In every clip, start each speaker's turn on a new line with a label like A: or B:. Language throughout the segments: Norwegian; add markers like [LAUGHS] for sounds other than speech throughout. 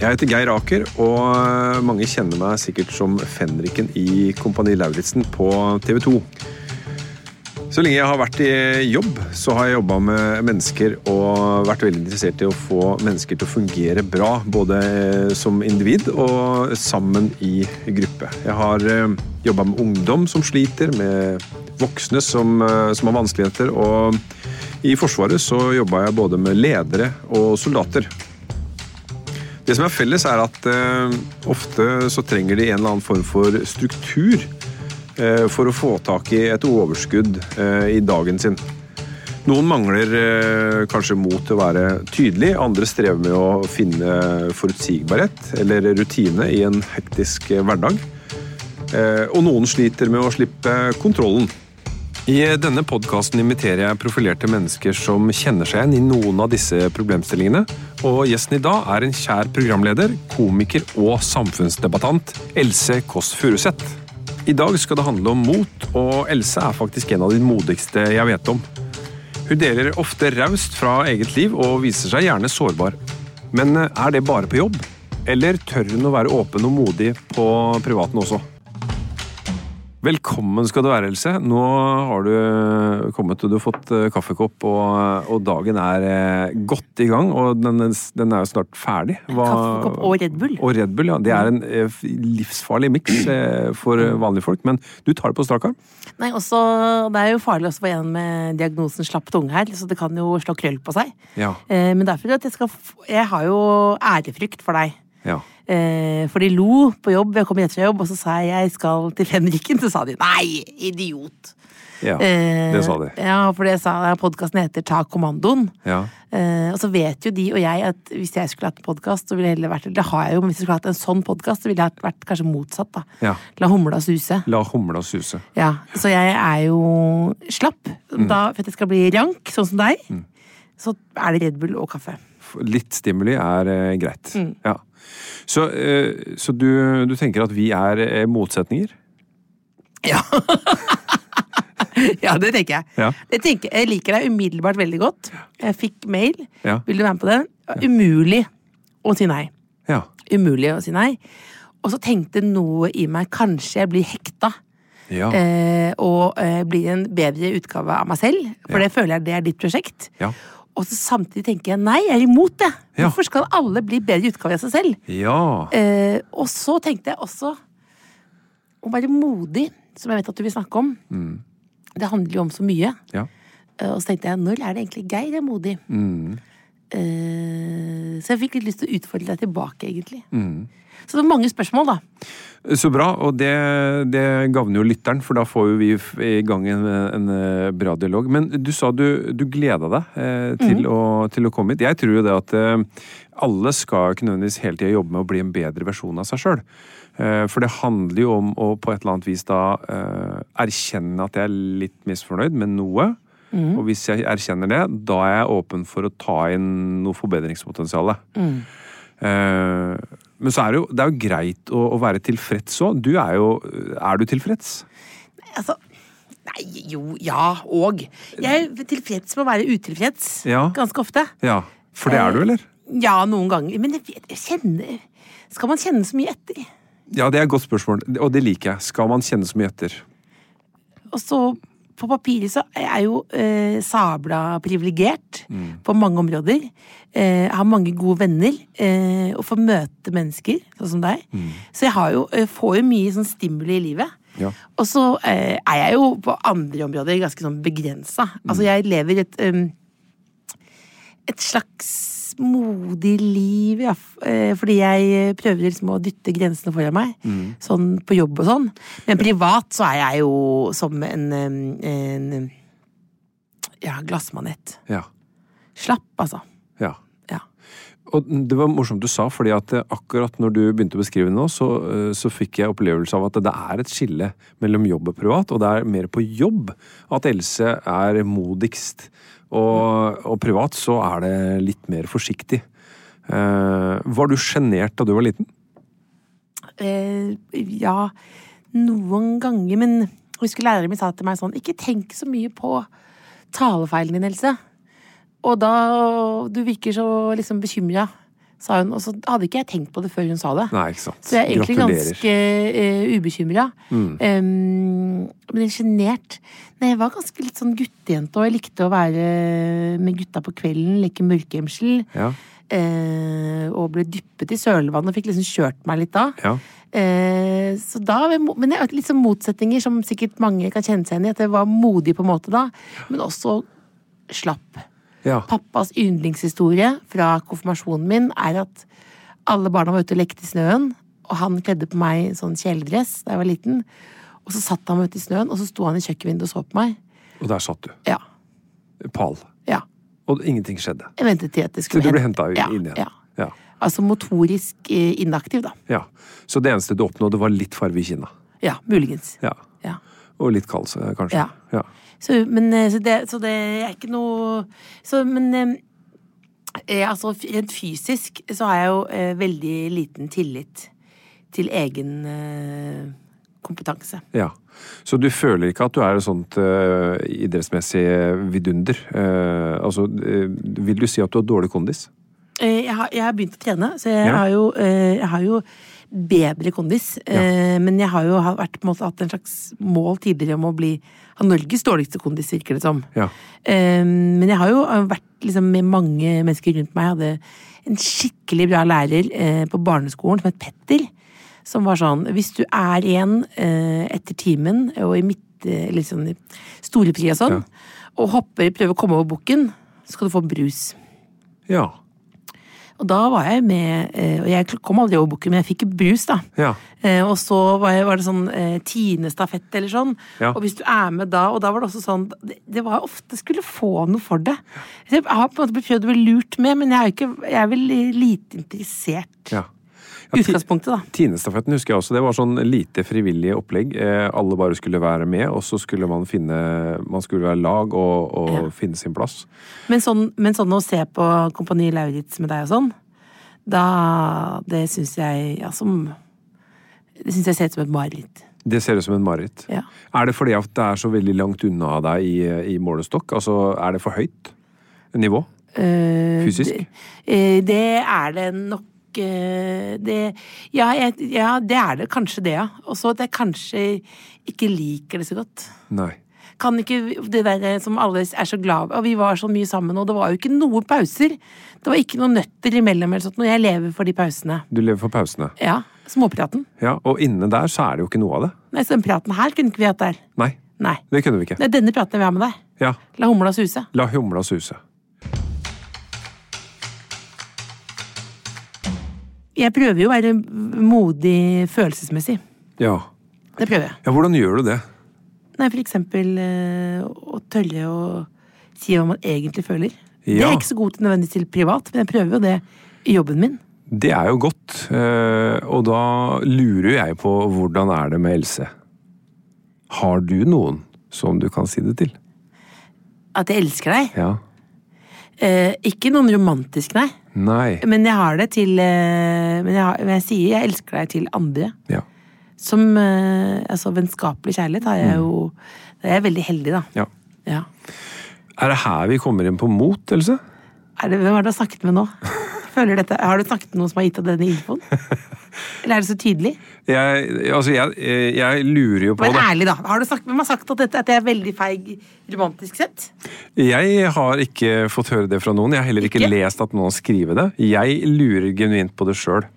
A: Jeg heter Geir Aker, og eh, mange kjenner meg sikkert som fenriken i Kompani Lauritzen på TV 2. Så lenge jeg har vært i jobb, så har jeg jobba med mennesker og vært veldig interessert i å få mennesker til å fungere bra, både eh, som individ og sammen i gruppe. Jeg har jobba med ungdom som sliter, med voksne som, eh, som har vanskeligheter, og i Forsvaret så jobba jeg både med ledere og soldater. Det som er felles, er at eh, ofte så trenger de en eller annen form for struktur eh, for å få tak i et overskudd eh, i dagen sin. Noen mangler eh, kanskje mot til å være tydelig, andre strever med å finne forutsigbarhet eller rutine i en hektisk eh, hverdag. Eh, og noen sliter med å slippe kontrollen. I denne podkasten inviterer jeg profilerte mennesker som kjenner seg igjen i noen av disse problemstillingene. Og gjesten i dag er en kjær programleder, komiker og samfunnsdebattant Else Kåss Furuseth. I dag skal det handle om mot, og Else er faktisk en av de modigste jeg vet om. Hun deler ofte raust fra eget liv og viser seg gjerne sårbar. Men er det bare på jobb? Eller tør hun å være åpen og modig på privaten også? Velkommen skal du være, Else. Nå har du kommet og du har fått eh, kaffekopp, og, og dagen er eh, godt i gang. Og den, den er jo snart ferdig. Hva-
B: Kaffekopp og Red Bull.
A: Og Red Bull, ja. Det er en eh, f- livsfarlig miks eh, for eh, vanlige folk, men du tar det på strak arm.
B: Nei, også, det er jo farlig også for en med diagnosen slapp tunge her, så det kan jo slå krøll på seg.
A: Ja.
B: Eh, men derfor at jeg skal f- Jeg har jo ærefrykt for deg.
A: Ja.
B: Eh, for de lo på jobb, jeg kom hjem fra jobb, og så sa jeg jeg skal til Fenriken. Så sa de nei, idiot.
A: ja.
B: Eh,
A: Det sa de.
B: Ja, for det sa podkasten heter Ta kommandoen.
A: Ja.
B: Eh, og så vet jo de og jeg at hvis jeg skulle hatt en podkast, så ville jeg heller vært Det har jeg jo, men hvis jeg skulle hatt en sånn podkast, så ville jeg hatt- vært kanskje motsatt, da.
A: Ja.
B: La humla suse.
A: La humla suse.
B: Ja, så jeg er jo slapp.
A: Mm.
B: Da, for at jeg skal bli rank, sånn som deg, så er det Red Bull og kaffe.
A: F- Litt stimuli er eh, greit.
B: Mm.
A: Ja. Så, eh, så du, du tenker at vi er eh, motsetninger?
B: Ja. [LAUGHS] ja, det tenker jeg.
A: Ja.
B: Det tenker, jeg liker deg umiddelbart veldig godt. Jeg fikk mail.
A: Ja.
B: Vil du være med på den? Umulig å si nei.
A: Ja.
B: Umulig å si nei. Og så tenkte noe i meg kanskje jeg blir hekta.
A: Ja.
B: eh, og eh, blir en bedre utgave av meg selv. For det føler jeg det er ditt prosjekt.
A: Ja.
B: Og så samtidig tenker jeg nei, jeg er imot det.
A: Ja.
B: Hvorfor skal alle bli bedre utgave av seg selv?
A: ja.
B: Eh, og så tenkte jeg også å være modig, som jeg vet at du vil snakke om.
A: Mm.
B: Det handler jo om så mye.
A: ja.
B: Eh, Og så tenkte jeg når er det egentlig Geir er modig?
A: Mm.
B: Eh, så jeg fikk litt lyst til å utfordre deg tilbake, egentlig.
A: Mm.
B: Så det var mange spørsmål, da.
A: Så bra, og det, det gagner jo lytteren, for da får jo vi f- i gang en, en eh, bra dialog. Men du sa du, du gleda deg eh, til, å, til å komme hit. Jeg tror jo det at eh, alle skal jo ikke nødvendigvis hele tida jobbe med å bli en bedre versjon av seg sjøl. For det handler jo om å på et eller annet vis da eh, erkjenne at jeg er litt misfornøyd med noe. Og hvis jeg erkjenner det, da er jeg åpen for å ta inn noe forbedringspotensial. Eh, Men så er det jo, det er jo greit å, å være tilfreds òg. Du er jo Er du tilfreds?
B: Altså Nei, jo, ja og. Jeg er tilfreds med å være utilfreds
A: Ja.
B: ganske ofte.
A: Ja. Eh. For det er du, eller?
B: Ja, noen ganger. Men jeg vet, jeg kjenner Skal man kjenne så mye etter?
A: Ja, det er et godt spørsmål, og det liker jeg. Skal man kjenne så mye etter?
B: Og så på papiret så er jeg jo eh, sabla privilegert
A: Mm.
B: på mange områder. Eh, jeg har mange gode venner eh, og får møte mennesker, sånn som deg. Så jeg har jo, eh, får jo mye sånn stimuli i livet.
A: Mm. Ja.
B: Og så eh, er jeg jo på andre områder ganske sånn begrensa.
A: Mm.
B: Altså jeg lever et em, et slags modig liv, ja. f- eh, Fordi jeg prøver liksom å dytte grensene foran meg. Sånn på jobb og sånn. Men privat så er jeg jo som en, em, en ja, glassmanet.
A: Ja.
B: Slapp, altså.
A: ja.
B: Ja.
A: Og det var morsomt du sa, fordi at eh, akkurat når du begynte å beskrive det nå, så, eh, så fikk jeg opplevelse av at det er et skille mellom jobb og privat, og det er mer på jobb at Else er modigst. Og, og privat så er det litt mer forsiktig. Eh, var du sjenert da du var liten?
B: Eh, ja, noen ganger, men jeg husker læreren min sa til meg sånn Ikke tenk så mye på talefeilen din, Else. Og da Du virker så liksom bekymra, sa hun. Og så hadde ikke jeg tenkt på det før hun sa det.
A: Nei, ikke sant.
B: Så jeg er egentlig
A: Gratulerer. Mm.
B: ganske uh, ubekymra. men sjenert. Nei, jeg var ganske litt sånn guttejente, og jeg likte å være med gutta på kvelden, leke mørkegjemsel.
A: Ja.
B: Eh, og ble dyppet i sølvann og fikk liksom kjørt meg litt da.
A: Ja.
B: Eh, så da var jeg mo- men det er litt sånn motsetninger som sikkert mange kan kjenne seg igjen i. At jeg var modig på en måte da, men også slapp.
A: Ja.
B: Pappas yndlingshistorie fra konfirmasjonen min er at alle barna var ute og lekte i snøen, og han kledde på meg sånn kjeledress da jeg var liten. Og så satt han meg ute i snøen, og så sto han i kjøkkenvinduet og så på meg.
A: Og der satt du.
B: Ja,
A: Pal.
B: ja.
A: Og ingenting skjedde.
B: Jeg ventet til at det
A: Så
B: skulle
A: du ble
B: hen-
A: henta
B: ja,
A: inn igjen?
B: Ja.
A: ja.
B: Altså motorisk eh, inaktiv, da.
A: Ja, Så det eneste du oppnådde, var litt farve i kinna.
B: Ja, muligens.
A: Ja.
B: Ja.
A: Og litt kalse, kanskje.
B: Ja. Så, men, eh, så, det, så det er ikke noe så, Men eh, eh, altså, f- rent fysisk så har jeg jo eh, veldig liten tillit til egen eh, kompetanse.
A: Ja. Så du føler ikke at du er et sånt eh, idrettsmessig vidunder? Eh, altså, eh, vil du si at du har dårlig kondis?
B: Eh, jeg, har, jeg har begynt å trene, så jeg,
A: Ja.
B: har, jo, eh, jeg har jo bedre kondis. eh, Men jeg har jo ha- vært, på en måte, hatt en slags mål tidligere om å bli ha Norges dårligste kondis, virker det som.
A: Ja.
B: Eh, Men jeg har jo eh, vært liksom, med mange mennesker rundt meg. Jeg hadde en skikkelig bra lærer eh, på barneskolen som het Petter. Som var sånn Hvis du er igjen eh, etter timen og i midt, eh, eller sånn i storepri og sånn,
A: Ja.
B: og hopper, prøver å komme over bukken, så skal du få brus.
A: Ja.
B: Og da var jeg med eh, Og jeg kom aldri over bukken, men jeg fikk brus, da.
A: Ja.
B: Eh, Og så var, jeg, var det sånn eh, Tine-stafett eller sånn.
A: Ja.
B: Og hvis du er med da Og da var det også sånn Det, det var ofte skulle få noe for det. Så Jeg har på en måte blitt prøvd å bli lurt med, men jeg er, jo ikke, jeg er vel lite interessert.
A: ja.
B: I Utgangspunktet, da.
A: Tinestafetten husker jeg også. Det var sånn lite frivillig opplegg. Eh, alle bare skulle være med, og så skulle man finne Man skulle være lag og, og finne sin plass.
B: Men sånn, men sånn å se på Kompani Lauritz med deg og sånn, da Det syns jeg ja, som Det syns jeg ser ut som et mareritt.
A: Det ser ut som en mareritt.
B: Ja.
A: Er det fordi at det er så veldig langt unna deg i, i målestokk? Altså, er det for høyt nivå?
B: Eh,
A: Fysisk?
B: Det, eh, det er det nok eh, det, ja, jeg, ja, det er det kanskje det, ja. Og så at jeg kanskje ikke liker det så godt.
A: Nei.
B: Kan ikke det der eh, som alle er så glad Og vi var så mye sammen, og det var jo ikke noen pauser. Det var ikke noen nøtter imellom eller sånt. Når jeg lever for de pausene.
A: Du lever for pausene.
B: Ja. Småpraten.
A: Ja, Og inne der så er det jo ikke noe av det.
B: Nei, så den praten her kunne ikke vi hatt der.
A: Nei.
B: Nei.
A: Det kunne vi ikke.
B: Det er denne praten jeg vil ha med deg.
A: Ja.
B: La humla suse.
A: La humla suse.
B: Jeg prøver jo å være modig følelsesmessig.
A: Ja.
B: Det prøver jeg.
A: ja, hvordan gjør du det?
B: Nei, for eksempel eh, å tørre å si hva man egentlig føler. Det
A: Ja.
B: er jeg ikke så god til nødvendigvis til privat, men jeg prøver jo det i jobben min.
A: Det er jo godt, eh, og da lurer jeg på hvordan er det med Else? Har du noen som du kan si det til?
B: At jeg elsker deg.
A: Ja.
B: Eh, ikke noen romantisk, nei.
A: Nei.
B: Men jeg har det til eh, men, jeg har, men jeg sier jeg elsker deg til andre.
A: Ja.
B: Som eh, altså, vennskapelig kjærlighet har jeg jo Det er jeg veldig heldig, da.
A: ja.
B: Ja.
A: Er det her vi kommer inn på mot, Else?
B: Er det, hvem er det du har snakket med nå? [LAUGHS] Føler dette, har du snakket med noen som har gitt deg denne infoen? Eller er det så tydelig?
A: Jeg, altså, jeg, jeg lurer jo på
B: Men
A: det.
B: ærlig, da. Har du snakket, hvem har sagt at, dette, at jeg er veldig feig romantisk sett?
A: Jeg har ikke fått høre det fra noen. Jeg har heller ikke,
B: Ikke?
A: lest at noen har skrevet det. Jeg lurer genuint på det sjøl.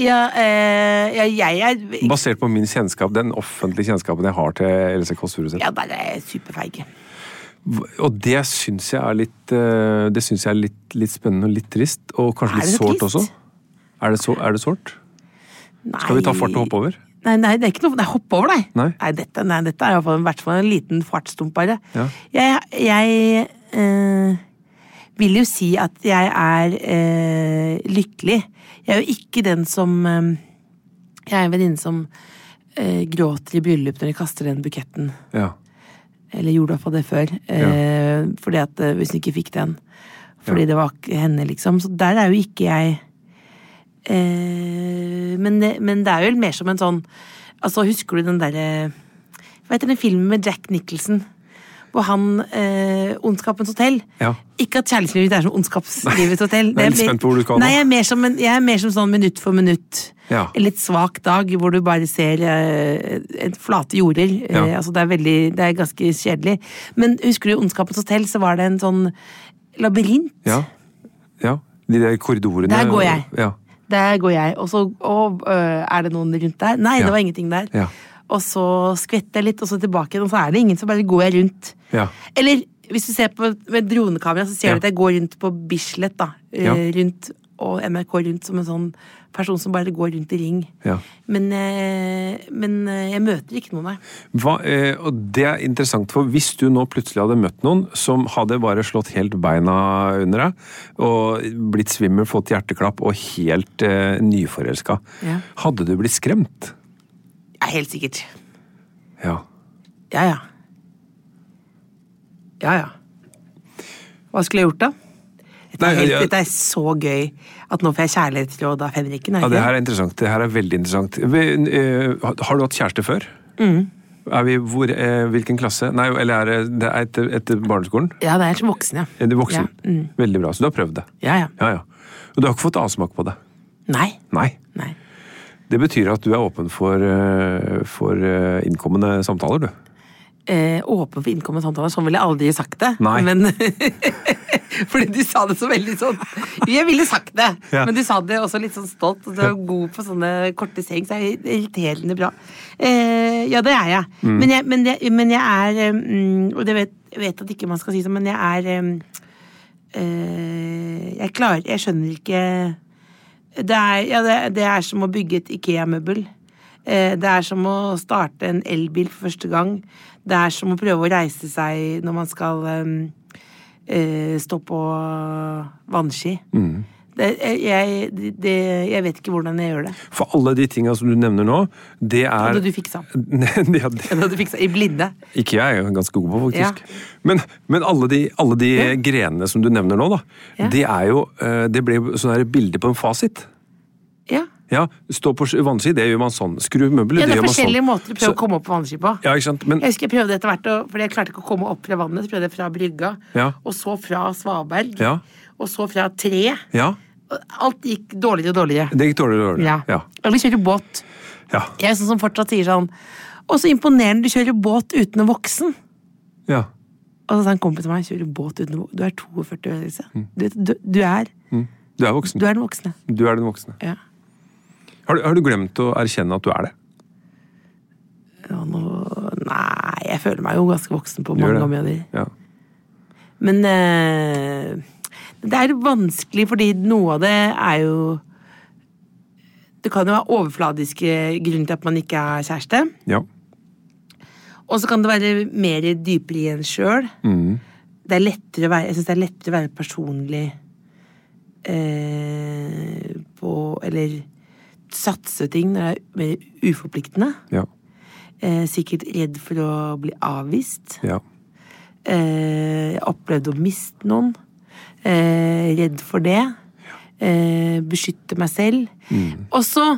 B: Ja, eh, ja jeg er
A: Basert på min kjennskap, den offentlige kjennskapen jeg har til Else Kåss Furuseth.
B: Ja, der er jeg superfeig.
A: Og det syns jeg er litt eh, Det synes jeg er litt, litt spennende og litt trist. Og kanskje
B: Er
A: litt
B: det
A: sårt
B: trist?
A: også. Er det, så, er det sårt?
B: Nei.
A: Skal vi ta fart og hoppe over?
B: Nei, nei, det er ikke noe Nei, hopp over deg!
A: Nei.
B: dette, nei, dette er i hvert fall- i hvert fall en liten fartsdump, bare.
A: Ja.
B: Jeg, jeg eh, vil jo si at jeg er eh, lykkelig. Jeg er jo ikke den som eh, Jeg er en venninne som eh, gråter i bryllup når de kaster den buketten.
A: Ja.
B: Eller gjorde i hvert fall det før. Eh, fordi at eh, Hvis hun ikke fikk den. Fordi det var ikke henne, liksom. Så der er jo ikke jeg eh, men, det, men det er jo mer som en sånn Altså, husker du den derre Hva heter den filmen med Jack Nicholson? Hvor han eh, Ondskapens hotell.
A: Ja.
B: Ikke at kjærlighetslivet mitt er som
A: [LAUGHS]
B: Ondskapslivets hotell.
A: Nei, jeg er litt
B: mer-
A: spent på hvor du skal nå.
B: Nei, jeg er mer som, en, jeg er mer som sånn minutt for minutt.
A: Ja.
B: En litt svak dag hvor du bare ser eh, en flate jorder. Eh,
A: Ja.
B: altså det, er veldig, det er ganske kjedelig. Men husker du Ondskapens hotell? Så var det en sånn labyrint.
A: ja. ja. De der korridorene
B: Der går jeg.
A: Ja.
B: Der går jeg, og så og, øh, er det noen rundt der. Nei,
A: Ja.
B: det var ingenting der.
A: Ja.
B: Og så skvetter jeg litt, og så tilbake igjen, og så er det ingen, så bare går jeg rundt.
A: Ja.
B: Eller hvis du ser på med dronekamera, så ser
A: Ja.
B: du at jeg går rundt på Bislett, da. øh,
A: Ja.
B: Rundt, og NRK rundt som en sånn person som bare går rundt i ring.
A: Ja.
B: Men, øh, men øh, jeg møter ikke noen, nei.
A: Hva, eh, og det er interessant, for hvis du nå plutselig hadde møtt noen som hadde bare slått helt beina under deg, og blitt svimmel, fått hjerteklapp og helt eh, nyforelska,
B: Ja.
A: hadde du blitt skremt?
B: Ja, helt sikkert.
A: Ja.
B: Ja, ja. Ja, ja. Hva skulle jeg gjort, da?
A: Nei,
B: Helt,
A: ja,
B: Dette er så gøy at nå får jeg kjærlighetsråd av Henrikken.
A: ja, det her er interessant. Det her er veldig interessant. Vi, eh, Har du hatt kjæreste før?
B: Mm.
A: Er vi hvor, eh, hvilken klasse? Nei, eller er det- det er etter, etter barneskolen?
B: ja, det er som voksen, ja.
A: Er du voksen?
B: Ja, mm.
A: Veldig bra. Så du har prøvd det?
B: Ja, ja.
A: Ja, ja. Og du har ikke fått avsmak på det?
B: Nei.
A: Nei.
B: Nei.
A: Det betyr at du er åpen for, eh, for eh, innkommende samtaler, du.
B: Eh, åpen for innkommende samtaler. Sånn ville jeg aldri sagt det.
A: Nei.
B: Men, [LAUGHS] fordi du sa det så veldig sånn Jeg ville sagt det,
A: Ja.
B: men du sa det også litt sånn stolt. Og du er god på sånne korte seng, så er det irriterende bra. Eh, ja, det er jeg.
A: Mm.
B: Men, jeg, men, jeg, men jeg er eh, mm, Og det vet, jeg vet at ikke man skal si det, men jeg er eh, eh, Jeg klarer Jeg skjønner ikke Det er, ja, det, det er som å bygge et Ikea-møbel. Eh, Det er som å starte en elbil for første gang. Det er som å prøve å reise seg når man skal em, eh, stå på vannski.
A: Mm.
B: Det, eh, jeg, det, jeg vet ikke hvordan jeg gjør det.
A: For alle de tinga som du nevner nå, det er
B: Hadde du fiksa.
A: [LAUGHS] det hadde,
B: Det hadde du fiksa i blinde.
A: ikke jeg, jeg er ganske god på, faktisk.
B: Ja.
A: Men, men alle de, alle de grenene som du nevner nå, da,
B: Ja.
A: det er jo eh, Det ble jo sånn her bilde på en fasit.
B: Ja.
A: Ja, Stå på sk- vannski, det gjør man sånn. Skru møbelet,
B: ja, det
A: det
B: er
A: gjør man sånn.
B: forskjellige måter å prøve å
A: Så-
B: komme opp på vannski på.
A: Ja, ikke sant? Men,
B: Jeg husker jeg prøvde etter hvert, å- fordi jeg klarte ikke å komme opp fra vannet. Så prøvde jeg fra brygga,
A: Ja.
B: og så fra svaberg,
A: Ja.
B: og så fra tre.
A: ja,
B: Og Alt gikk dårligere og dårligere.
A: det gikk dårligere og
B: Ja.
A: dårligere. Ja.
B: Eller kjøre båt.
A: Ja.
B: Jeg er sånn som fortsatt sier sånn Å, så imponerende, du kjører båt uten å voksen.
A: ja.
B: Og så sa en kompis til meg, kjører båt uten å voksen. Du er 42 år, Else. Du, vet, du, du, er,
A: Du er Mm. voksen.
B: du er den voksne.
A: Du er den voksne.
B: Ja.
A: Har du, har du glemt å erkjenne at du er det?
B: Ja, nå, nei, jeg føler meg jo ganske voksen på
A: Du gjør
B: mange
A: det.
B: områder.
A: Ja.
B: Men eh, det er vanskelig, fordi noe av det er jo Det kan jo være overfladiske grunner til at man ikke er kjæreste.
A: ja.
B: Og så kan det være mer dypere i en sjøl. Det er lettere å være Jeg synes det er lettere å være personlig eh, på Eller satse ting når det er mer uforpliktende.
A: Ja.
B: Eh, sikkert redd for å bli avvist.
A: ja.
B: Eh, jeg opplevde å miste noen. Eh, redd for det. Eh, beskytte meg selv.
A: Mm.
B: Og så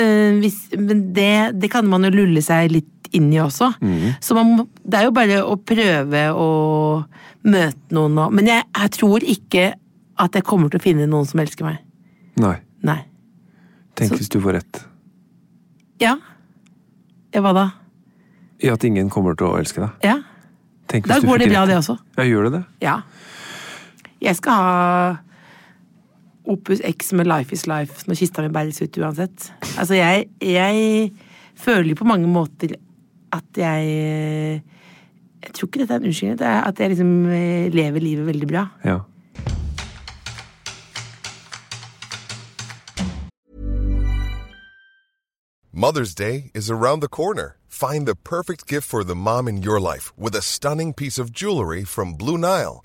B: eh, hvis, Men det, det kan man jo lulle seg litt inn i også.
A: Mm.
B: Så man, må- det er jo bare å prøve å møte noen og Men jeg, jeg tror ikke at jeg kommer til å finne noen som elsker meg.
A: Nei.
B: Nei.
A: Tenk
B: Så-
A: hvis du får rett
B: Ja. Ja, hva da?
A: i at ingen kommer til å elske deg.
B: Ja.
A: Tenk
B: Da
A: hvis du
B: går
A: fikk
B: det bra,
A: rett.
B: det også.
A: Ja, gjør det det?
B: Ja. Jeg skal ha Opus X med Life is Life når kista mi bæres ut uansett. Altså, jeg, jeg føler på mange måter at jeg Jeg tror ikke dette er en unnskyldning. Det er at jeg liksom eh, lever livet veldig bra.
A: Ja.
C: Mother's Day is around the corner. Find the perfect gift for the mom in your life with a stunning piece of jewelry from Blue Nile.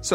D: So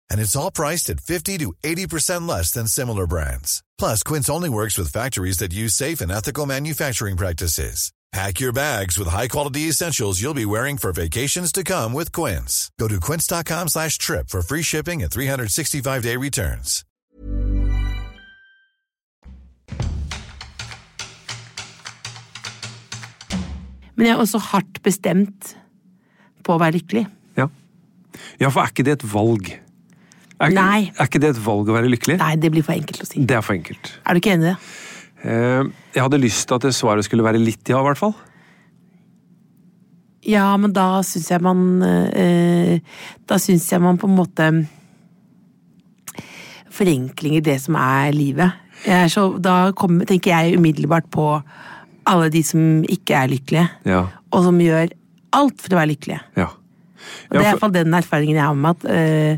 E: And it's all priced at 50 to 80% less than similar brands. Plus, Quince only works with factories that use safe and ethical manufacturing practices. Pack your bags with high-quality essentials you'll be wearing for vacations to come with Quince. Go to quince.com slash trip for free shipping and 365-day returns.
B: Men jeg er også hardt bestemt på å være lykkelig.
A: Ja. ja, for er ikke det et valg? Er, ikke-
B: Nei.
A: Er ikke det et valg å være lykkelig?
B: Nei, det blir for enkelt å si.
A: Det er for enkelt.
B: Er du ikke enig i det?
A: Eh, jeg hadde lyst til at det svaret skulle være litt ja, i hvert fall.
B: Ja, men da syns jeg man eh, Da syns jeg man på en måte Forenklinger det som er livet. Jeg er så, da kommer, tenker jeg umiddelbart på alle de som ikke er lykkelige,
A: Ja.
B: og som gjør alt for å være lykkelige.
A: Ja.
B: Og Det
A: Ja,
B: er i
A: for-
B: hvert fall den erfaringen jeg har med at eh,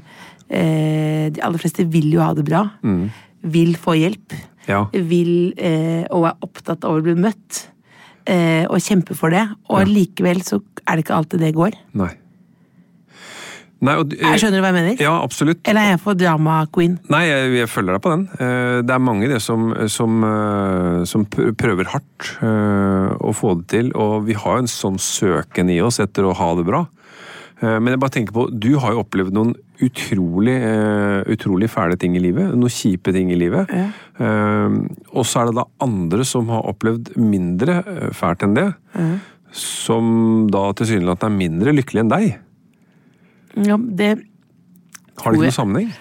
B: eh, de aller fleste vil jo ha det bra.
A: Mm.
B: Vil få hjelp.
A: Ja.
B: Vil, eh, og er opptatt av å bli møtt. eh, og kjempe for det. Og likevel så er det ikke alltid det går.
A: Nei. Nei og, eh,
B: Jeg skjønner du hva jeg mener?
A: Ja, absolutt.
B: Eller er jeg for drama queen?
A: Nei, jeg, jeg følger deg på den. Eh, Det er mange det som, som, eh, som pr- prøver hardt eh, å få det til, og vi har jo en sånn søken i oss etter å ha det bra. Eh, Men jeg bare tenker på, du har jo opplevd noen utrolig, eh, utrolig fæle ting i livet. Noen kjipe ting i livet. Eh, Og så er det da andre som har opplevd mindre eh, fælt enn det. Som da tilsynelatende er mindre lykkelig enn deg.
B: Ja, det,
A: Har det
B: Tror
A: ikke
B: jeg-
A: noen sammenheng?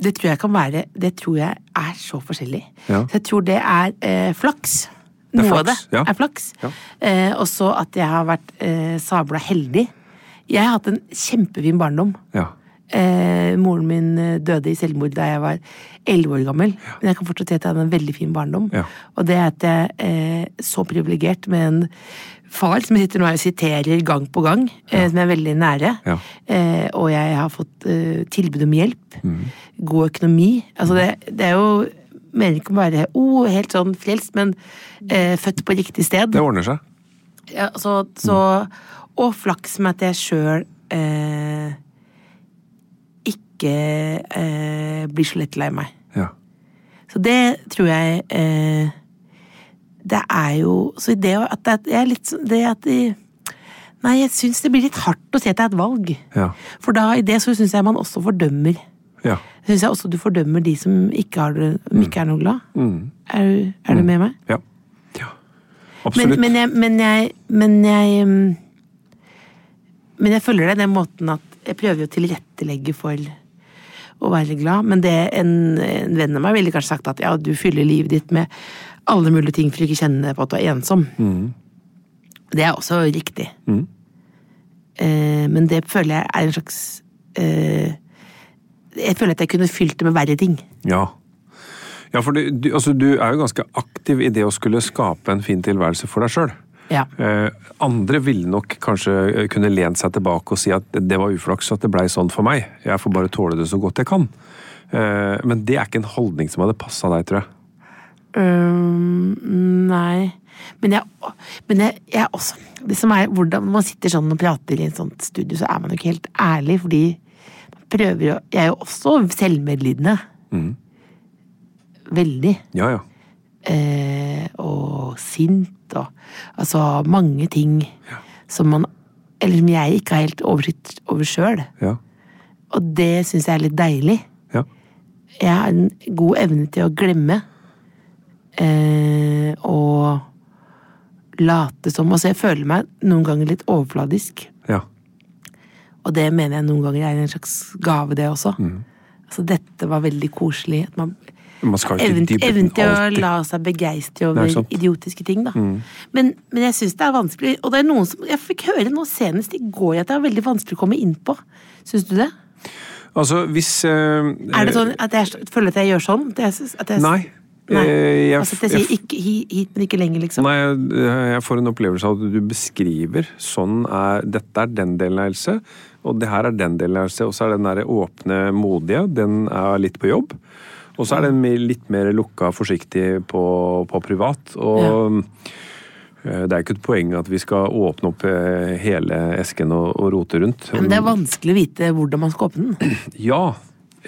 B: det tror jeg kan være Det tror jeg er så forskjellig.
A: Ja.
B: Så jeg tror det er eh, flaks.
A: er
B: Noe av det
A: flaks, ja.
B: er flaks. Eh, og så at jeg har vært eh, sabla heldig. Jeg har hatt en kjempefin barndom.
A: Ja.
B: Eh, moren min eh, døde i selvmord da jeg var elleve år gammel. Men jeg kan fortsatt si at jeg hadde en veldig fin barndom.
A: Ja.
B: Og det at jeg eh, så privilegert med en far som jeg sitter nå og siterer gang på gang, eh, som jeg er veldig nære.
A: Ja.
B: Eh, og jeg har fått eh, tilbud om hjelp.
A: Mm.
B: God økonomi. Altså det, det er jo Mener ikke å være oh, helt sånn frelst, men eh, født på riktig sted.
A: Det ordner seg.
B: Ja, så, så, og flaks med at jeg sjøl eh, ikke eh, blir så lett lei meg.
A: Ja.
B: Så det tror jeg eh, Det er jo Så det at det er litt sånn Det at de, Nei, jeg syns det blir litt hardt å se til et valg.
A: Ja.
B: For da i det så syns jeg man også fordømmer.
A: Ja.
B: Syns jeg også du fordømmer de som ikke, har det, som ikke er noe glad. Er, du- er du med meg?
A: Ja. ja.
B: Men,
A: Absolutt.
B: men jeg Men jeg Men jeg, um, men jeg følger deg den måten at jeg prøver jo å tilrettelegge for å være glad, men det en, en venn av meg ville kanskje sagt at ja, du fyller livet ditt med alle mulige ting for å ikke kjenne på at du er ensom. Det er også riktig. Eh, men det føler jeg er en slags eh, Jeg føler at jeg kunne fylt det med verre ting.
A: Ja. ja, for du, du, altså, du er jo ganske aktiv i det å skulle skape en fin tilværelse for deg sjøl.
B: Ja.
A: Eh, andre ville nok kanskje eh, kunne lent seg tilbake og si at det var uflaks at det blei sånn for meg. Jeg får bare tåle det så godt jeg kan. Eh, men det er ikke en holdning som hadde passa deg, tror jeg.
B: Øhm, nei. Men, jeg, men jeg, jeg er også det som er, hvordan Når man sitter sånn og prater i et sånt studio, så er man jo ikke helt ærlig, fordi man prøver jo Jeg er jo også selvmedlidende. Veldig.
A: Ja, ja.
B: Eh, og sint og Altså mange ting som man Eller som jeg ikke har helt oversikt over sjøl.
A: Ja.
B: Og det syns jeg er litt deilig
A: ja.
B: jeg har en god evne til å glemme. Eh, og late som. Altså, jeg føler meg noen ganger litt overfladisk.
A: ja.
B: Og det mener jeg noen ganger er en slags gave, det også.
A: Mm.
B: Altså, dette var veldig koselig. At man,
A: Man skal jo ikke i
B: evn-
A: dybden
B: evnen til å
A: alltid.
B: la seg begeistre
A: Nei,
B: over
A: ikke sant. Mm.
B: idiotiske ting, da. Men, men jeg syns det er vanskelig. Og det er noen som Jeg fikk høre nå senest i går at det er veldig vanskelig å komme inn på. Syns du det?
A: Altså, hvis eh,
B: Er det sånn at jeg føler at jeg gjør sånn? At jeg, synes- at jeg,
A: Nei.
B: Nei.
A: Eh, jeg-
B: altså at jeg sier ikke hi- hit, men ikke lenger, liksom?
A: Nei, jeg- jeg får en opplevelse av at du beskriver sånn er Dette er den delen av Else, og det her er den delen av Else. Og så er den der åpne, modige, den er litt på jobb. Og så er den mer- litt mer lukka, forsiktig på, på privat. Og eh, det er ikke et poeng at vi skal åpne opp eh, hele esken og, og rote rundt.
B: Men det er vanskelig å vite hvordan man skal åpne den.
A: Ja.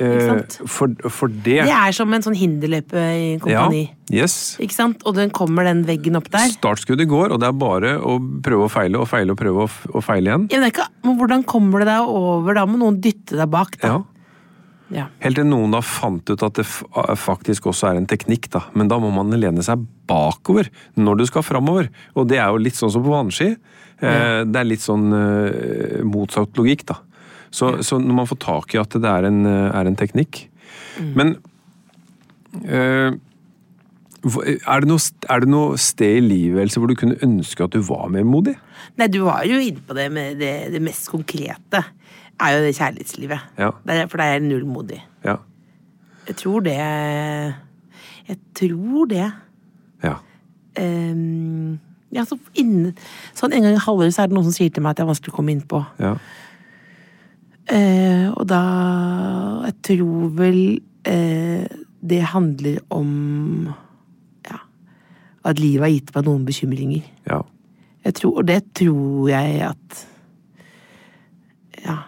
A: Eh,
B: sant?
A: for, for det
B: Det er som en sånn hinderløype i kompani.
A: Ja, yes.
B: Ikke sant? Og den kommer den veggen opp der.
A: Startskuddet går, og det er bare å prøve og feile og feile og prøve og f- og feile igjen.
B: Ja, men, det er ikke, men hvordan kommer du deg over? Da må noen dytte deg bak, da.
A: Ja.
B: Ja.
A: Helt til noen da fant ut at det f- faktisk også er en teknikk, da. Men da må man lene seg bakover når du skal framover. Og det er jo litt sånn som på vannski. Eh, Det er litt sånn eh, motsatt logikk, da. Så, så når man får tak i at det er en, eh, er en teknikk Men eh, hvor- er det, noe, st- er det noe sted i livet Else, hvor du kunne ønske at du var mer modig?
B: Nei, du var jo inne på det med det, det mest konkrete. Er jo det kjærlighetslivet.
A: Ja.
B: Der, for der er jeg null modig.
A: Ja.
B: Jeg tror det Jeg tror det.
A: ja.
B: Ehm, ja, så innen, sånn en gang i halvåret så er det noen som sier til meg at det er vanskelig å komme inn på.
A: ja.
B: Eh, og da Jeg tror vel eh, det handler om ja, at livet har gitt meg noen bekymringer.
A: Ja.
B: Jeg tror, og det tror jeg at Ja.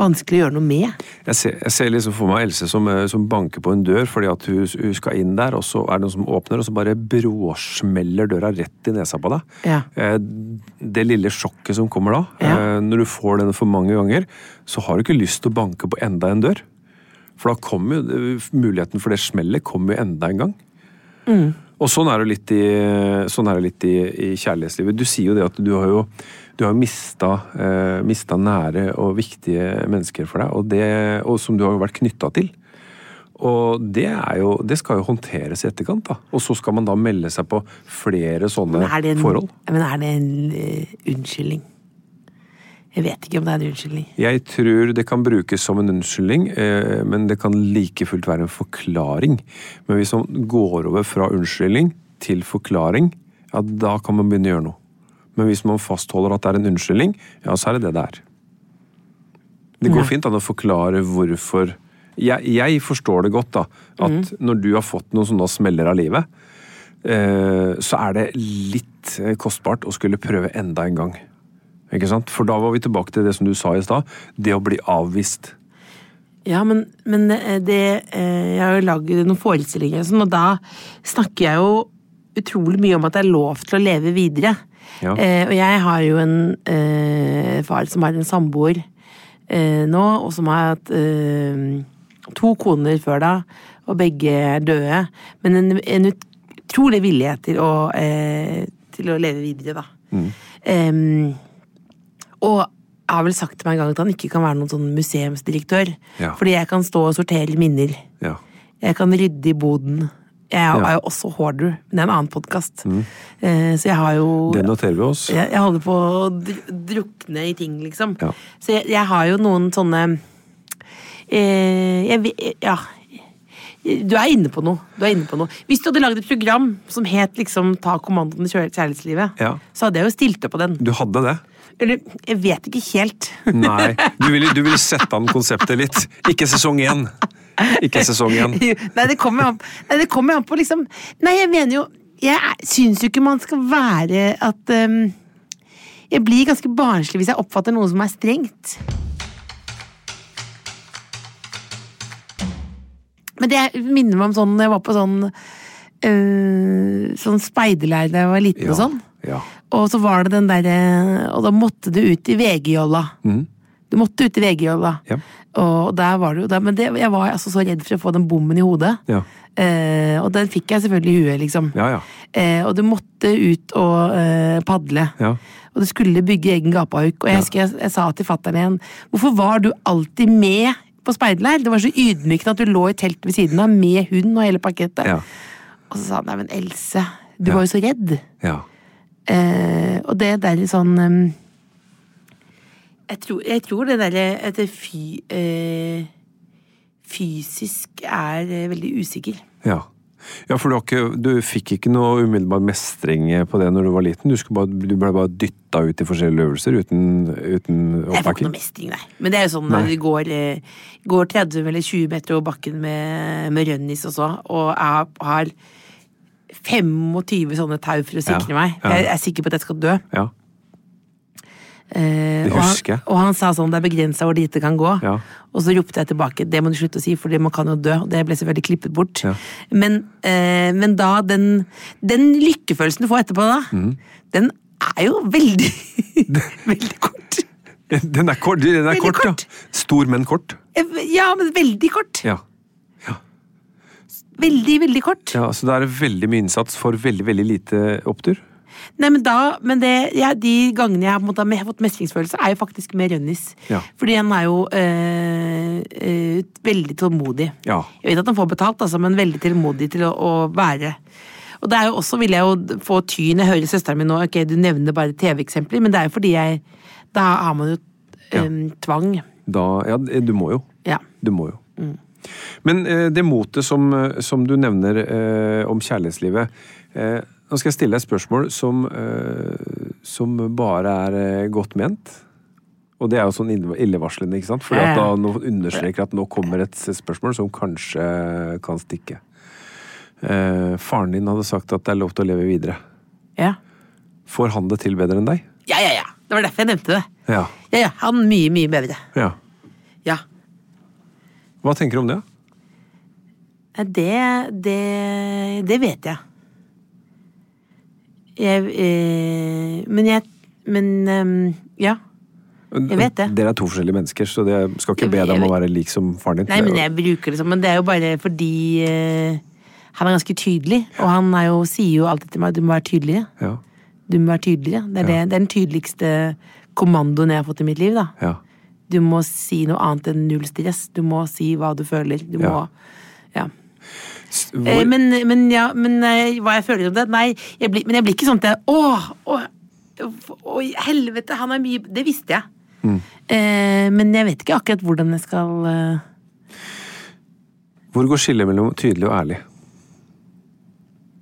B: Vanskelig å gjøre noe med.
A: Jeg ser, jeg ser liksom for meg Else som, eh, som banker på en dør fordi at hun, hun skal inn der, og så er det noen som åpner, og så bare bråsmeller døra rett i nesa på deg.
B: Ja.
A: Eh, Det lille sjokket som kommer da,
B: Ja.
A: eh, når du får denne for mange ganger, så har du ikke lyst til å banke på enda en dør. For da kommer jo eh, muligheten for det smellet kommer jo enda en gang. Og sånn er det litt i, sånn er det litt i, i kjærlighetslivet. Du sier jo det at du har jo du har mista, eh, mista nære og viktige mennesker for deg, og, det, og som du har vært knytta til. Og det, er jo, det skal jo håndteres i etterkant. da. Og så skal man da melde seg på flere sånne
B: Men er det en,
A: forhold.
B: Men er det en eh, unnskyldning? Jeg vet ikke om det er en unnskyldning.
A: Jeg tror det kan brukes som en unnskyldning, eh, men det kan like fullt være en forklaring. Men hvis man går over fra unnskyldning til forklaring, ja, da kan man begynne å gjøre noe. Men hvis man fastholder at det er en unnskyldning, ja, så er det det det er. Det går fint an å forklare hvorfor jeg, jeg forstår det godt, da. At når du har fått noen sånne smeller av livet, eh, så er det litt eh, kostbart å skulle prøve enda en gang. Ikke sant? For da var vi tilbake til det som du sa i stad. Det å bli avvist.
B: Ja, men, men eh, det eh, Jeg har jo lagd noen forestillinger, og sånn, og da snakker jeg jo utrolig mye om at det er lov til å leve videre.
A: Ja.
B: Eh, og jeg har jo en eh, far som har en samboer eh, nå, og som har hatt eh, to koner før da, og begge er døde. Men en, en utrolig vilje til å, eh, til å leve videre, da. Em, og jeg har vel sagt til meg en gang at han ikke kan være noen sånn museumsdirektør.
A: Ja.
B: Fordi jeg kan stå og sortere minner.
A: Ja.
B: Jeg kan rydde i boden. Jeg er, er jo også hoarder, men det er en annen podkast.
A: Mm.
B: Eh, så jeg har jo
A: Det noterer vi oss.
B: jeg, jeg holder på å dr drukne i ting, liksom.
A: Ja.
B: Så jeg, jeg har jo noen sånne eh, jeg, ve- Ja. Du er inne på noe. Du er inne på noe. Hvis du hadde lagd et program som het liksom, 'Ta kommandoen i kjør- kjærlighetslivet',
A: Ja.
B: så hadde jeg jo stilt opp på den.
A: Du hadde det?
B: Eller, jeg vet ikke helt.
A: Nei. Du ville, du ville sette an konseptet litt. Ikke sesong én. Ikke sesong én.
B: Nei, det kommer [LAUGHS] jo an Nei, det kommer jo an på liksom Nei, jeg mener jo Jeg er- syns jo ikke man skal være at ehm, Jeg blir ganske barnslig hvis jeg oppfatter noe som er strengt. Men det minner meg om sånn når jeg var på sånn øh, Sånn speiderleir da jeg var liten og sånn.
A: Ja.
B: Og så var det den derre Og da måtte du ut i VG-jolla. Du måtte ut i VG-jolla.
A: Mm. Ja.
B: Og der var det jo der, Men det, jeg var altså så redd for å få den bommen i hodet.
A: Ja.
B: Eh, og den fikk jeg selvfølgelig i huet, liksom.
A: Ja, ja.
B: Eh, og du måtte ut og eh, padle.
A: Ja.
B: Og du skulle bygge egen gapahauk. Og jeg husker jeg, jeg sa til fattern igjen Hvorfor var du alltid med på speiderleir? Det var så ydmykende at du lå i teltet ved siden av med hund og hele pakket.
A: Ja.
B: Og så sa han nei, men Else, du var jo så redd.
A: ja.
B: Eh, og det der sånn ehm, jeg, tror, jeg tror det derre at det fy, eh, fysisk er eh, veldig usikker.
A: ja. ja for du, har ikke, du fikk ikke noe umiddelbar mestring på det når du var liten? Du, skulle bare, du ble bare dytta ut i forskjellige øvelser uten, uten
B: Jeg får ikke
A: oppbakking?
B: noe mestring, nei. Men det er jo sånn når
A: Nei.
B: du går, eh, går 30 eller 20 meter over bakken med, med rønnis og så, og jeg har 25 sånne tau for å
A: Ja,
B: sikre meg.
A: ja.
B: Jeg er sikker på at jeg skal dø.
A: Ja.
B: Eh,
A: Det
B: og,
A: husker jeg.
B: han, og han sa sånn, det er begrensa hvor lite kan gå.
A: Ja.
B: Og så ropte jeg tilbake, det må du slutte å si, for man kan jo dø. Og det ble selvfølgelig klippet bort.
A: Ja.
B: Men, eh, men da, den, den lykkefølelsen du får etterpå da,
A: Mm.
B: den er jo veldig,
A: [LAUGHS]
B: veldig kort.
A: Den er kort, den er
B: Veldig
A: kort,
B: kort.
A: ja. Stor, men kort.
B: Ja, men veldig kort.
A: Ja.
B: Veldig, veldig kort.
A: ja. Så det er veldig mye innsats for veldig, veldig lite opptur?
B: Nei, men da, men det, ja, De gangene jeg har på en måte, har me- fått mestringsfølelse, er jo faktisk med Rønnis.
A: Ja.
B: Fordi han er jo øh, øh, veldig tålmodig.
A: Ja.
B: Jeg vet at han får betalt, altså, men veldig tålmodig til å, å være. Og det er jo også, vil jeg jo d- få ty når jeg hører søsteren min nå, ok, du nevner bare TV-eksempler, men det er jo fordi jeg Da har man jo øhm, tvang.
A: Da Ja, eh, du må jo.
B: Ja.
A: Du må jo. Men eh, det motet som, eh, som du nevner eh, om kjærlighetslivet eh, Nå skal jeg stille deg et spørsmål som, eh, som bare er eh, godt ment. Og det er jo sånn ille- illevarslende, ikke sant? For
B: Ja, ja.
A: da nå understreker at nå kommer et spørsmål som kanskje kan stikke. Eh, faren din hadde sagt at det er lov til å leve videre.
B: Ja.
A: Får han det til bedre enn deg?
B: ja, ja, ja. Det var derfor jeg nevnte det.
A: Ja.
B: Ja, ja. Han mye, mye bedre.
A: ja.
B: Ja.
A: Hva tenker du om det?
B: Nei, Det, det, det vet jeg. Jeg eh, Men jeg Men ehm, ja. Jeg vet det.
A: Dere er to forskjellige mennesker, så det skal ikke
B: Jeg-
A: be deg om
B: jeg-
A: å være lik som faren din. Det
B: Nei,
A: er
B: men
A: jo-
B: jeg bruker det som Men det er jo bare fordi eh, han er ganske tydelig, og han er jo, sier jo alltid til meg du må være tydeligere.
A: Ja.
B: Du må være tydeligere. Det er, det, det er den tydeligste kommandoen jeg har fått i mitt liv. da.
A: Ja.
B: Du må si noe annet enn null stress. Du må si hva du føler. Du
A: Ja.
B: må Ja.
A: S-
B: Eh,
A: Hvor,
B: men, men, ja, men eh, hva jeg føler om det? Nei, jeg blir, men jeg blir ikke sånn at jeg Åh, åh, åh, helvete, han er mye Det visste jeg.
A: Mm.
B: Eh, men jeg vet ikke akkurat hvordan jeg skal eh,
A: hvor går skillet mellom tydelig og ærlig?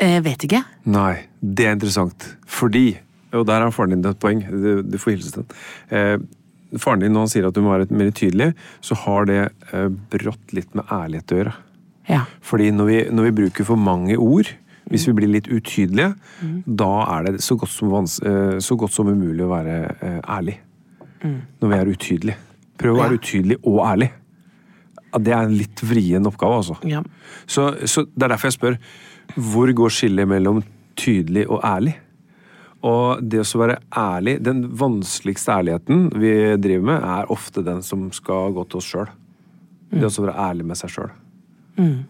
B: Jeg vet ikke.
A: Nei, det er interessant. Fordi, og der har faren din et poeng, du, du får hilse til den. Eh, faren din, når han sier at du må være mer tydelig, så har det eh, brått litt med ærlighet å gjøre.
B: Ja.
A: Fordi når vi, når vi bruker for mange ord, hvis vi blir litt utydelige, da er det så godt som, vans, eh, så godt som umulig å være eh, ærlig. Når vi er utydelige. Prøv å være utydelig og ærlig. Ja, Det er en litt vrien oppgave, altså.
B: Ja.
A: Så, så det er derfor jeg spør hvor går skillet mellom tydelig og ærlig. Og det å så være ærlig Den vanskeligste ærligheten vi driver med, er ofte den som skal gå til oss sjøl. Det å så være ærlig med seg Eh, sjøl.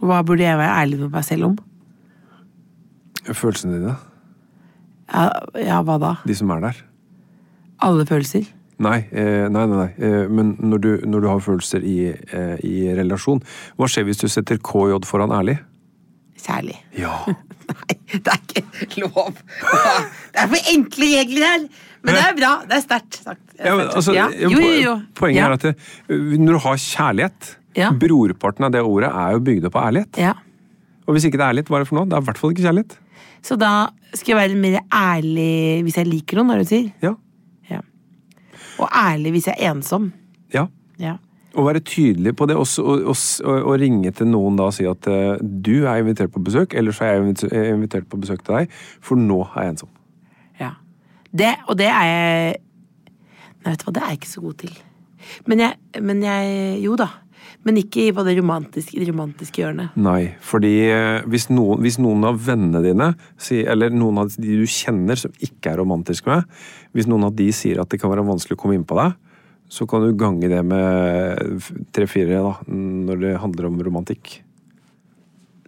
B: Hva burde jeg være ærlig med meg selv om?
A: følelsene dine,
B: Ja, ja hva da?
A: de som er der.
B: Alle følelser?
A: Nei, eh, nei, nei. nei. Eh, men når du, når du har følelser i, eh, i relasjon, hva skjer hvis du setter KJ foran ærlig?
B: Kjærlig. [LAUGHS]
A: Ja.
B: Nei, det er ikke lov! Det er for enkle regler her! Men det er bra. Det er sterkt sagt. Det er
A: men,
B: sterkt.
A: altså,
B: Ja.
A: eh,
B: Jo, jo, jo.
A: Poenget
B: ja.
A: er at det, eh, når du har kjærlighet
B: Ja.
A: Brorparten av det ordet er jo bygd opp av ærlighet.
B: ja.
A: Og hvis ikke det er ærlighet, hva er det for noe? Det er i hvert fall ikke kjærlighet.
B: Så da skal jeg være mer ærlig hvis jeg liker noen, er det du sier?
A: Ja.
B: Ja. Og ærlig hvis jeg er ensom.
A: ja.
B: Ja.
A: Å være tydelig på det, og, så- og, og, s- og, og ringe til noen da og si at eh, du er invitert på besøk, eller så er jeg invit- eh, invitert på besøk til deg, for nå er jeg sånn. ensom.
B: ja. Det, og det er jeg Nei, vet du hva, det er jeg ikke så god til. Men jeg, men jeg Jo da. Men ikke på det romantiske, i det romantiske hjørnet.
A: Nei, fordi eh, hvis noen, hvis noen av vennene dine, sier- eller noen av de du kjenner som ikke er romantisk med, hvis noen av de sier at det kan være vanskelig å komme inn på deg, så kan du gange det med f- tre-fire da, når det handler om romantikk.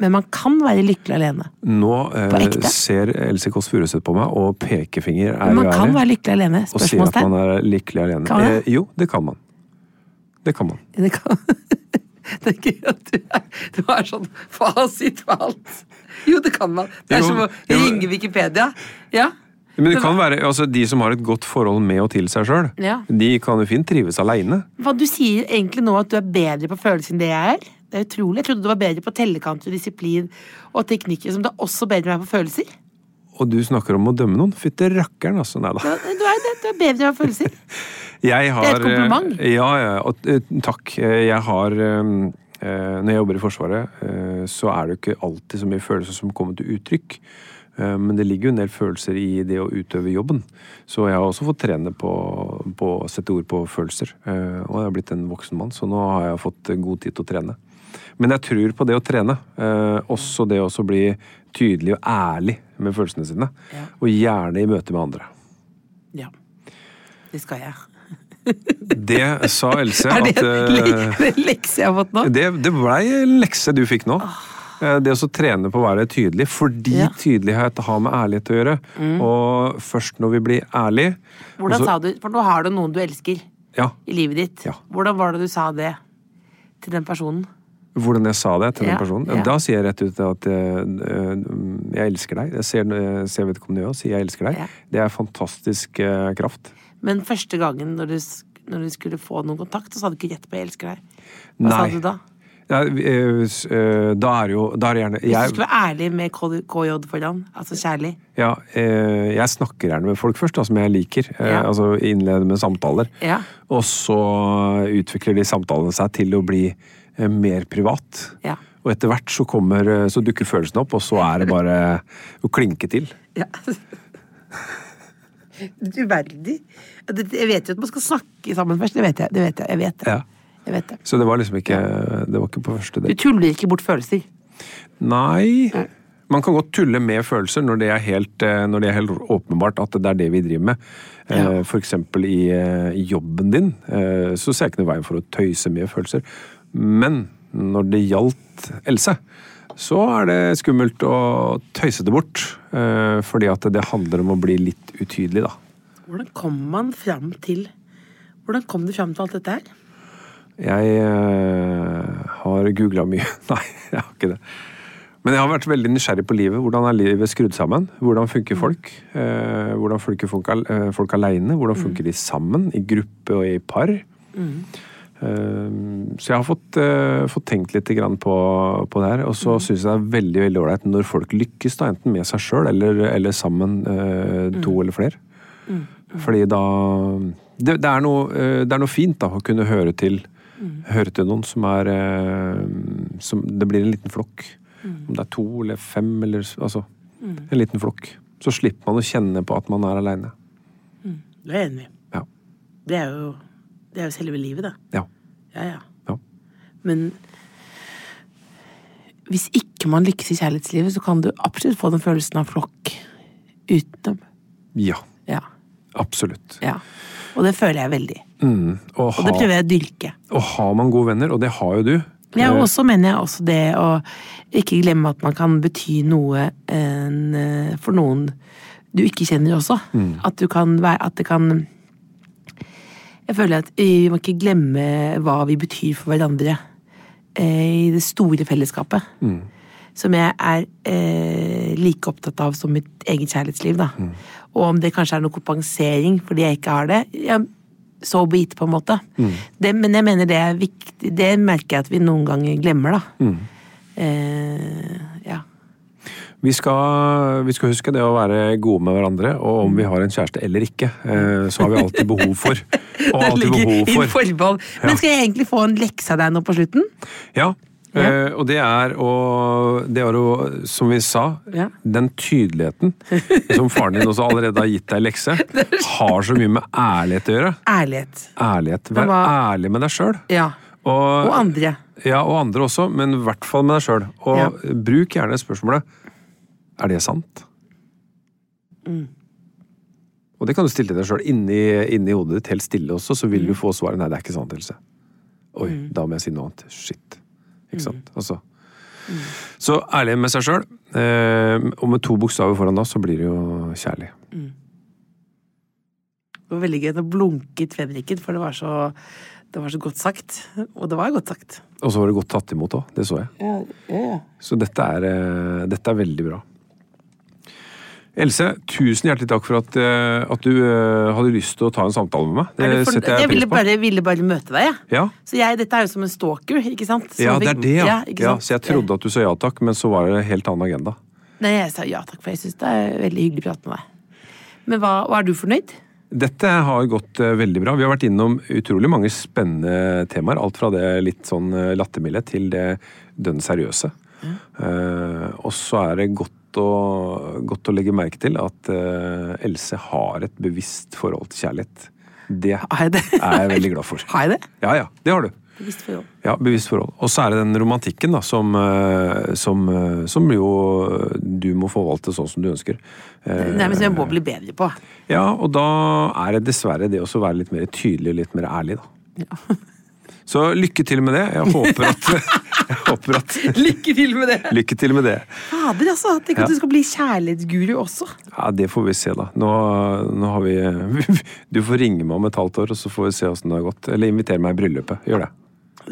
B: Men man kan være lykkelig alene.
A: Nå
B: På
A: eh,
B: ekte?
A: ser Else Kåss Furuseth på meg, og pekefinger er
B: Men
A: jo
B: man kan være
A: ærlig,
B: lykkelig alene.
A: og sier at man
B: Spørsmålstegn.
A: er lykkelig alene.
B: Kan man det?
A: Eh, jo, det kan man. Det kan man.
B: [LAUGHS] Det kan Det er gøy at du er, du er sånn fasit på alt. Jo, det kan man. Det er
A: Jo,
B: som å
A: jo.
B: ringe Wikipedia. Ja.
A: Men det kan være, altså De som har et godt forhold med og til seg sjøl,
B: Ja.
A: de kan jo fint trives aleine.
B: Hva du sier egentlig nå at du er bedre på følelser enn det jeg er? Det er utrolig. Jeg trodde du var bedre på tellekanter, disiplin og teknikker, som du er også bedre med på følelser.
A: Og du snakker om å dømme noen? Fytte rakkeren, altså. Nei
B: Du
A: da.
B: er, du er, det. du er bedre med følelser.
A: Jeg har,
B: Det er et kompliment.
A: eh, Ja, ja. Og, eh, takk. Eh, Jeg har eh, eh, Når jeg jobber i Forsvaret, eh, så er det jo ikke alltid så mye følelser som kommer til uttrykk. Eh, Men det ligger jo en del følelser i det å utøve jobben. Så jeg har også fått trene på, på å sette ord på følelser. Eh, Og jeg har blitt en voksen mann, så nå har jeg fått god tid til å trene. Men jeg tror på det å trene. Eh, også det å også bli tydelig og ærlig med følelsene sine. Og gjerne i møte med andre.
B: Ja. Det skal jeg.
A: Det sa Else
B: [LAUGHS] Er det
A: at
B: en
A: eh,
B: le- lekse jeg har fått nå?
A: det, det blei en lekse du fikk nå. Eh, Det å så trene på å være tydelig, fordi
B: Ah. Ja. Mm.
A: tydelighet har med ærlighet å gjøre. Og først når vi blir ærlige
B: Hvordan sa du For nå har du noen du elsker
A: Ja.
B: i livet ditt.
A: Ja.
B: Hvordan var det du sa det til den personen?
A: Hvordan jeg sa det til
B: Ja,
A: den personen.
B: ja.
A: Da sier jeg rett ut at eh, eh, jeg elsker deg. Jeg ser, jeg ser vedkommende i øyet og sier jeg elsker deg.
B: Ja.
A: Det er fantastisk eh, kraft.
B: Men første gangen når du, sk- når du skulle få noen kontakt, så sa du ikke rett på 'jeg elsker deg'. Hva sa
A: Nei.
B: du da?
A: Ja, vi- eh, s- eh, da er jo Da er det gjerne
B: Hvis
A: jeg,
B: du skulle være ærlig med K- KJ foran, altså kjærlig.
A: Ja, eh, jeg snakker gjerne med folk først, da, som jeg liker. Eh,
B: Ja.
A: Altså innleder med samtaler.
B: Ja.
A: Og så utvikler de samtalene seg til å bli eh, mer privat.
B: Ja.
A: Og etter hvert så, kommer, eh, så dukker følelsene opp, og så er det bare å klinke til.
B: Ja. Uverdig. Det- Jeg vet jo at man skal snakke sammen først. Det vet jeg. det vet Jeg jeg vet det.
A: Ja.
B: Jeg vet det.
A: Så det var liksom ikke Det var ikke på første
B: Du
A: del.
B: tuller ikke bort følelser.
A: Nei. Man kan godt tulle med følelser når det er helt, eh, når det er helt åpenbart at det er det vi driver med. Eh, For eksempel i eh, jobben din, eh, så ser jeg ikke noe veien for å tøyse med følelser. Men når det gjaldt Else, så er det skummelt å tøyse det bort. eh, Fordi at det handler om å bli litt utydelig, da.
B: Hvordan kom man fram til Hvordan kom du fram til alt dette her?
A: Jeg eh, har googla mye. [LAUGHS] Nei, jeg har ikke det. Men jeg har vært veldig nysgjerrig på livet. Hvordan er livet skrudd sammen? Hvordan funker folk? Eh, hvordan funker folk, al eh, folk aleine? Hvordan funker de sammen? I gruppe og i par? Eh, så jeg har fått, eh, fått tenkt litt grann på, på det her. Og så syns jeg det er veldig veldig ålreit når folk lykkes, da, enten med seg sjøl eller, eller sammen, eh, to eller flere. Fordi da det, det, er noe, eh, det er noe fint da, å kunne høre til,
B: Mm.
A: høre til noen som er eh, som, Det blir en liten flokk.
B: Mm.
A: Om det er to eller fem, eller s- altså En liten flokk. Så slipper man å kjenne på at man er aleine.
B: Du er enig.
A: Ja.
B: Det er jo, det er jo selve livet, det.
A: Ja.
B: Ja, ja.
A: Ja.
B: Men hvis ikke man lykkes i kjærlighetslivet, så kan du absolutt få den følelsen av flokk utenom.
A: Ja,
B: Ja.
A: absolutt.
B: ja. Og det føler jeg veldig.
A: Og,
B: Og det
A: ha,
B: prøver jeg å dyrke.
A: og har man gode venner, og det har jo du
B: Ja,
A: eh,
B: og så mener jeg også det å ikke glemme at man kan bety noe en, eh, for noen du ikke kjenner også. At du kan være At det kan Jeg føler at vi må ikke glemme hva vi betyr for hverandre eh, i det store fellesskapet. Som jeg er eh, like opptatt av som mitt eget kjærlighetsliv, da.
A: Mm.
B: Og om det kanskje er noe kompensering fordi jeg ikke har det. Jeg, så be it, på en måte.
A: Mm.
B: Det, men jeg mener det er viktig Det merker jeg at vi noen ganger glemmer, da.
A: Mm.
B: Eh, ja.
A: Vi skal, vi skal huske det å være gode med hverandre, og om vi har en kjæreste eller ikke, eh, så har vi alltid behov
B: [LAUGHS]
A: for. Og
B: Der
A: alltid
B: ligger
A: behov
B: inn
A: for.
B: forbehold. Men skal jeg egentlig få en lekse av deg nå på slutten?
A: Ja, eh, og det er å, det er å Som vi sa,
B: Ja.
A: den tydeligheten som faren din også allerede har gitt deg i
B: [LAUGHS]
A: lekse, har så mye med ærlighet å gjøre.
B: Ærlighet.
A: Ærlighet. Vær
B: hva-
A: ærlig med deg sjøl.
B: Ja. Og andre.
A: Ja, og andre også, men i hvert fall med deg sjøl. Og
B: Ja.
A: bruk gjerne spørsmålet Er det sant? Og det kan du stille deg sjøl inni, inni hodet ditt helt stille også, så vil du få svaret Nei, det er ikke sant, Else. Oi, da må jeg si noe annet. Shit. Ikke sant? Altså. Så ærlig med seg sjøl. Eh, og med to bokstaver foran da, så blir det jo kjærlig.
B: Det var veldig gøy. Nå blunket Fredriken, for det var så det var så godt sagt. Og det var godt sagt.
A: Og så var det godt tatt imot òg. Det så jeg.
B: Ja, ja.
A: Så dette er, eh, dette er veldig bra. Else, tusen hjertelig takk for at, eh, at du eh, hadde lyst til å ta en samtale med meg. Det,
B: Er det for,
A: Eh, setter jeg
B: jeg
A: pris
B: ville
A: på.
B: bare, ville bare møte deg, jeg.
A: Ja.
B: Så jeg, dette er jo som en stalker, ikke sant? Som
A: ja, det er
B: fikk-
A: det, ja.
B: ikke
A: ja.
B: sant? Eh,
A: Så jeg trodde at du sa ja takk, men så var det en helt annen agenda.
B: Nei, jeg sa ja takk, for jeg syns det er veldig hyggelig å prate med deg. Men hva, og er du fornøyd?
A: Dette har gått eh, veldig bra. Vi har vært innom utrolig mange spennende temaer. Alt fra det litt sånn eh, lattermilde til det dønn seriøse. Eh, og så er det godt å, godt å legge merke til at eh, Else har et bevisst forhold til kjærlighet. Det
B: Har jeg det?
A: er jeg veldig glad for.
B: Har jeg det?
A: Ja, ja. Det har du.
B: Bevisst forhold.
A: Ja, bevisst forhold. Og så er det den romantikken da, som, eh, som, eh, som jo du må forvalte sånn som du ønsker.
B: Det er noe som jeg må bli bedre på.
A: Ja, og da er det dessverre det også å være litt mer tydelig og litt mer ærlig, da. [LAUGHS] Så lykke til med det. Jeg håper at, [LAUGHS] jeg håper at
B: Lykke til med det!
A: Eh. [LAUGHS] Lykke til med det.
B: Fader, altså! Tenk at
A: Ja.
B: du skal bli kjærlighetsguru også.
A: Ja, Det får vi se, da. Nå, nå har vi [LAUGHS] Du får ringe meg om et halvt år, og så får vi se åssen det har gått. Eller invitere meg i bryllupet. Gjør det.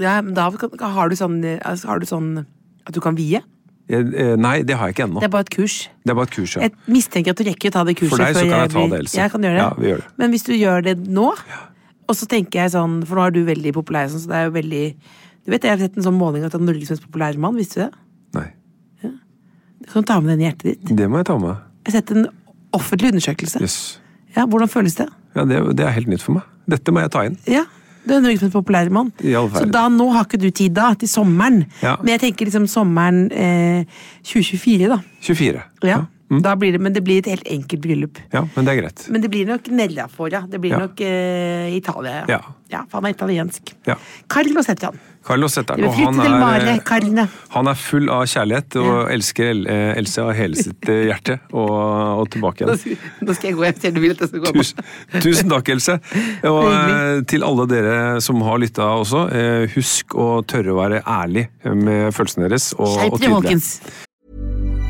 B: Ja, men da kan- har du sånn, altså, har du sånn at du kan vie.
A: Jeg, eh, nei, det har jeg ikke
B: Det
A: ennå.
B: er bare et kurs.
A: Det er bare et kurs, ja.
B: Jeg mistenker at du rekker å ta det kurset.
A: For deg så
B: før
A: kan jeg ta
B: blir-
A: det, Else.
B: Jeg kan gjøre det.
A: Ja, vi gjør det.
B: Men hvis du gjør det nå, og så tenker jeg sånn For nå er du veldig populær, sånn, så det er jo veldig Du vet, Jeg har sett en sånn måling at du er Norges mest populære mann. Visste du det?
A: Nei.
B: Du kan ta med den i hjertet ditt.
A: Det må jeg ta med.
B: Jeg har sett en offentlig undersøkelse.
A: Yes.
B: Ja, Hvordan føles det?
A: Ja, det, det er helt nytt for meg. Dette må jeg ta inn.
B: Ja, Du er Norges mest populære mann.
A: I all
B: Så
A: verden.
B: da, nå har ikke du tid da, til sommeren.
A: Ja.
B: Men jeg tenker liksom sommeren eh, 2024, da.
A: 24.
B: Ja.
A: Mm.
B: da blir det, men det blir et helt enkelt bryllup.
A: Ja, men det er greit.
B: Men det blir nok nedafor, ja. Det blir
A: Ja.
B: nok eh, Italia.
A: Ja.
B: ja, for han er italiensk.
A: Ja.
B: Carlo setter han.
A: Carlos heter
B: Vi
A: han,
B: vil
A: og
B: flytte
A: han
B: til
A: er, eh,
B: Mare, Carne.
A: han er full av kjærlighet og elsker El- eh, Else av hele sitt eh, hjerte. Og, og tilbake
B: [LAUGHS] Nå [LAUGHS]
A: igjen.
B: skal, nå skal jeg gå, jeg ser du vil at jeg skal gå. på.
A: Tusen, tusen takk, Else. Og eh,
B: Hyggelig.
A: til alle dere som har lytta også, eh, husk å tørre å være ærlig med følelsene deres. Og,
B: Skjerp
A: og tydelig.
B: dere, Hawkins.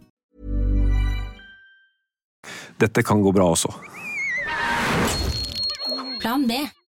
A: Dette kan gå bra også.
F: Plan B.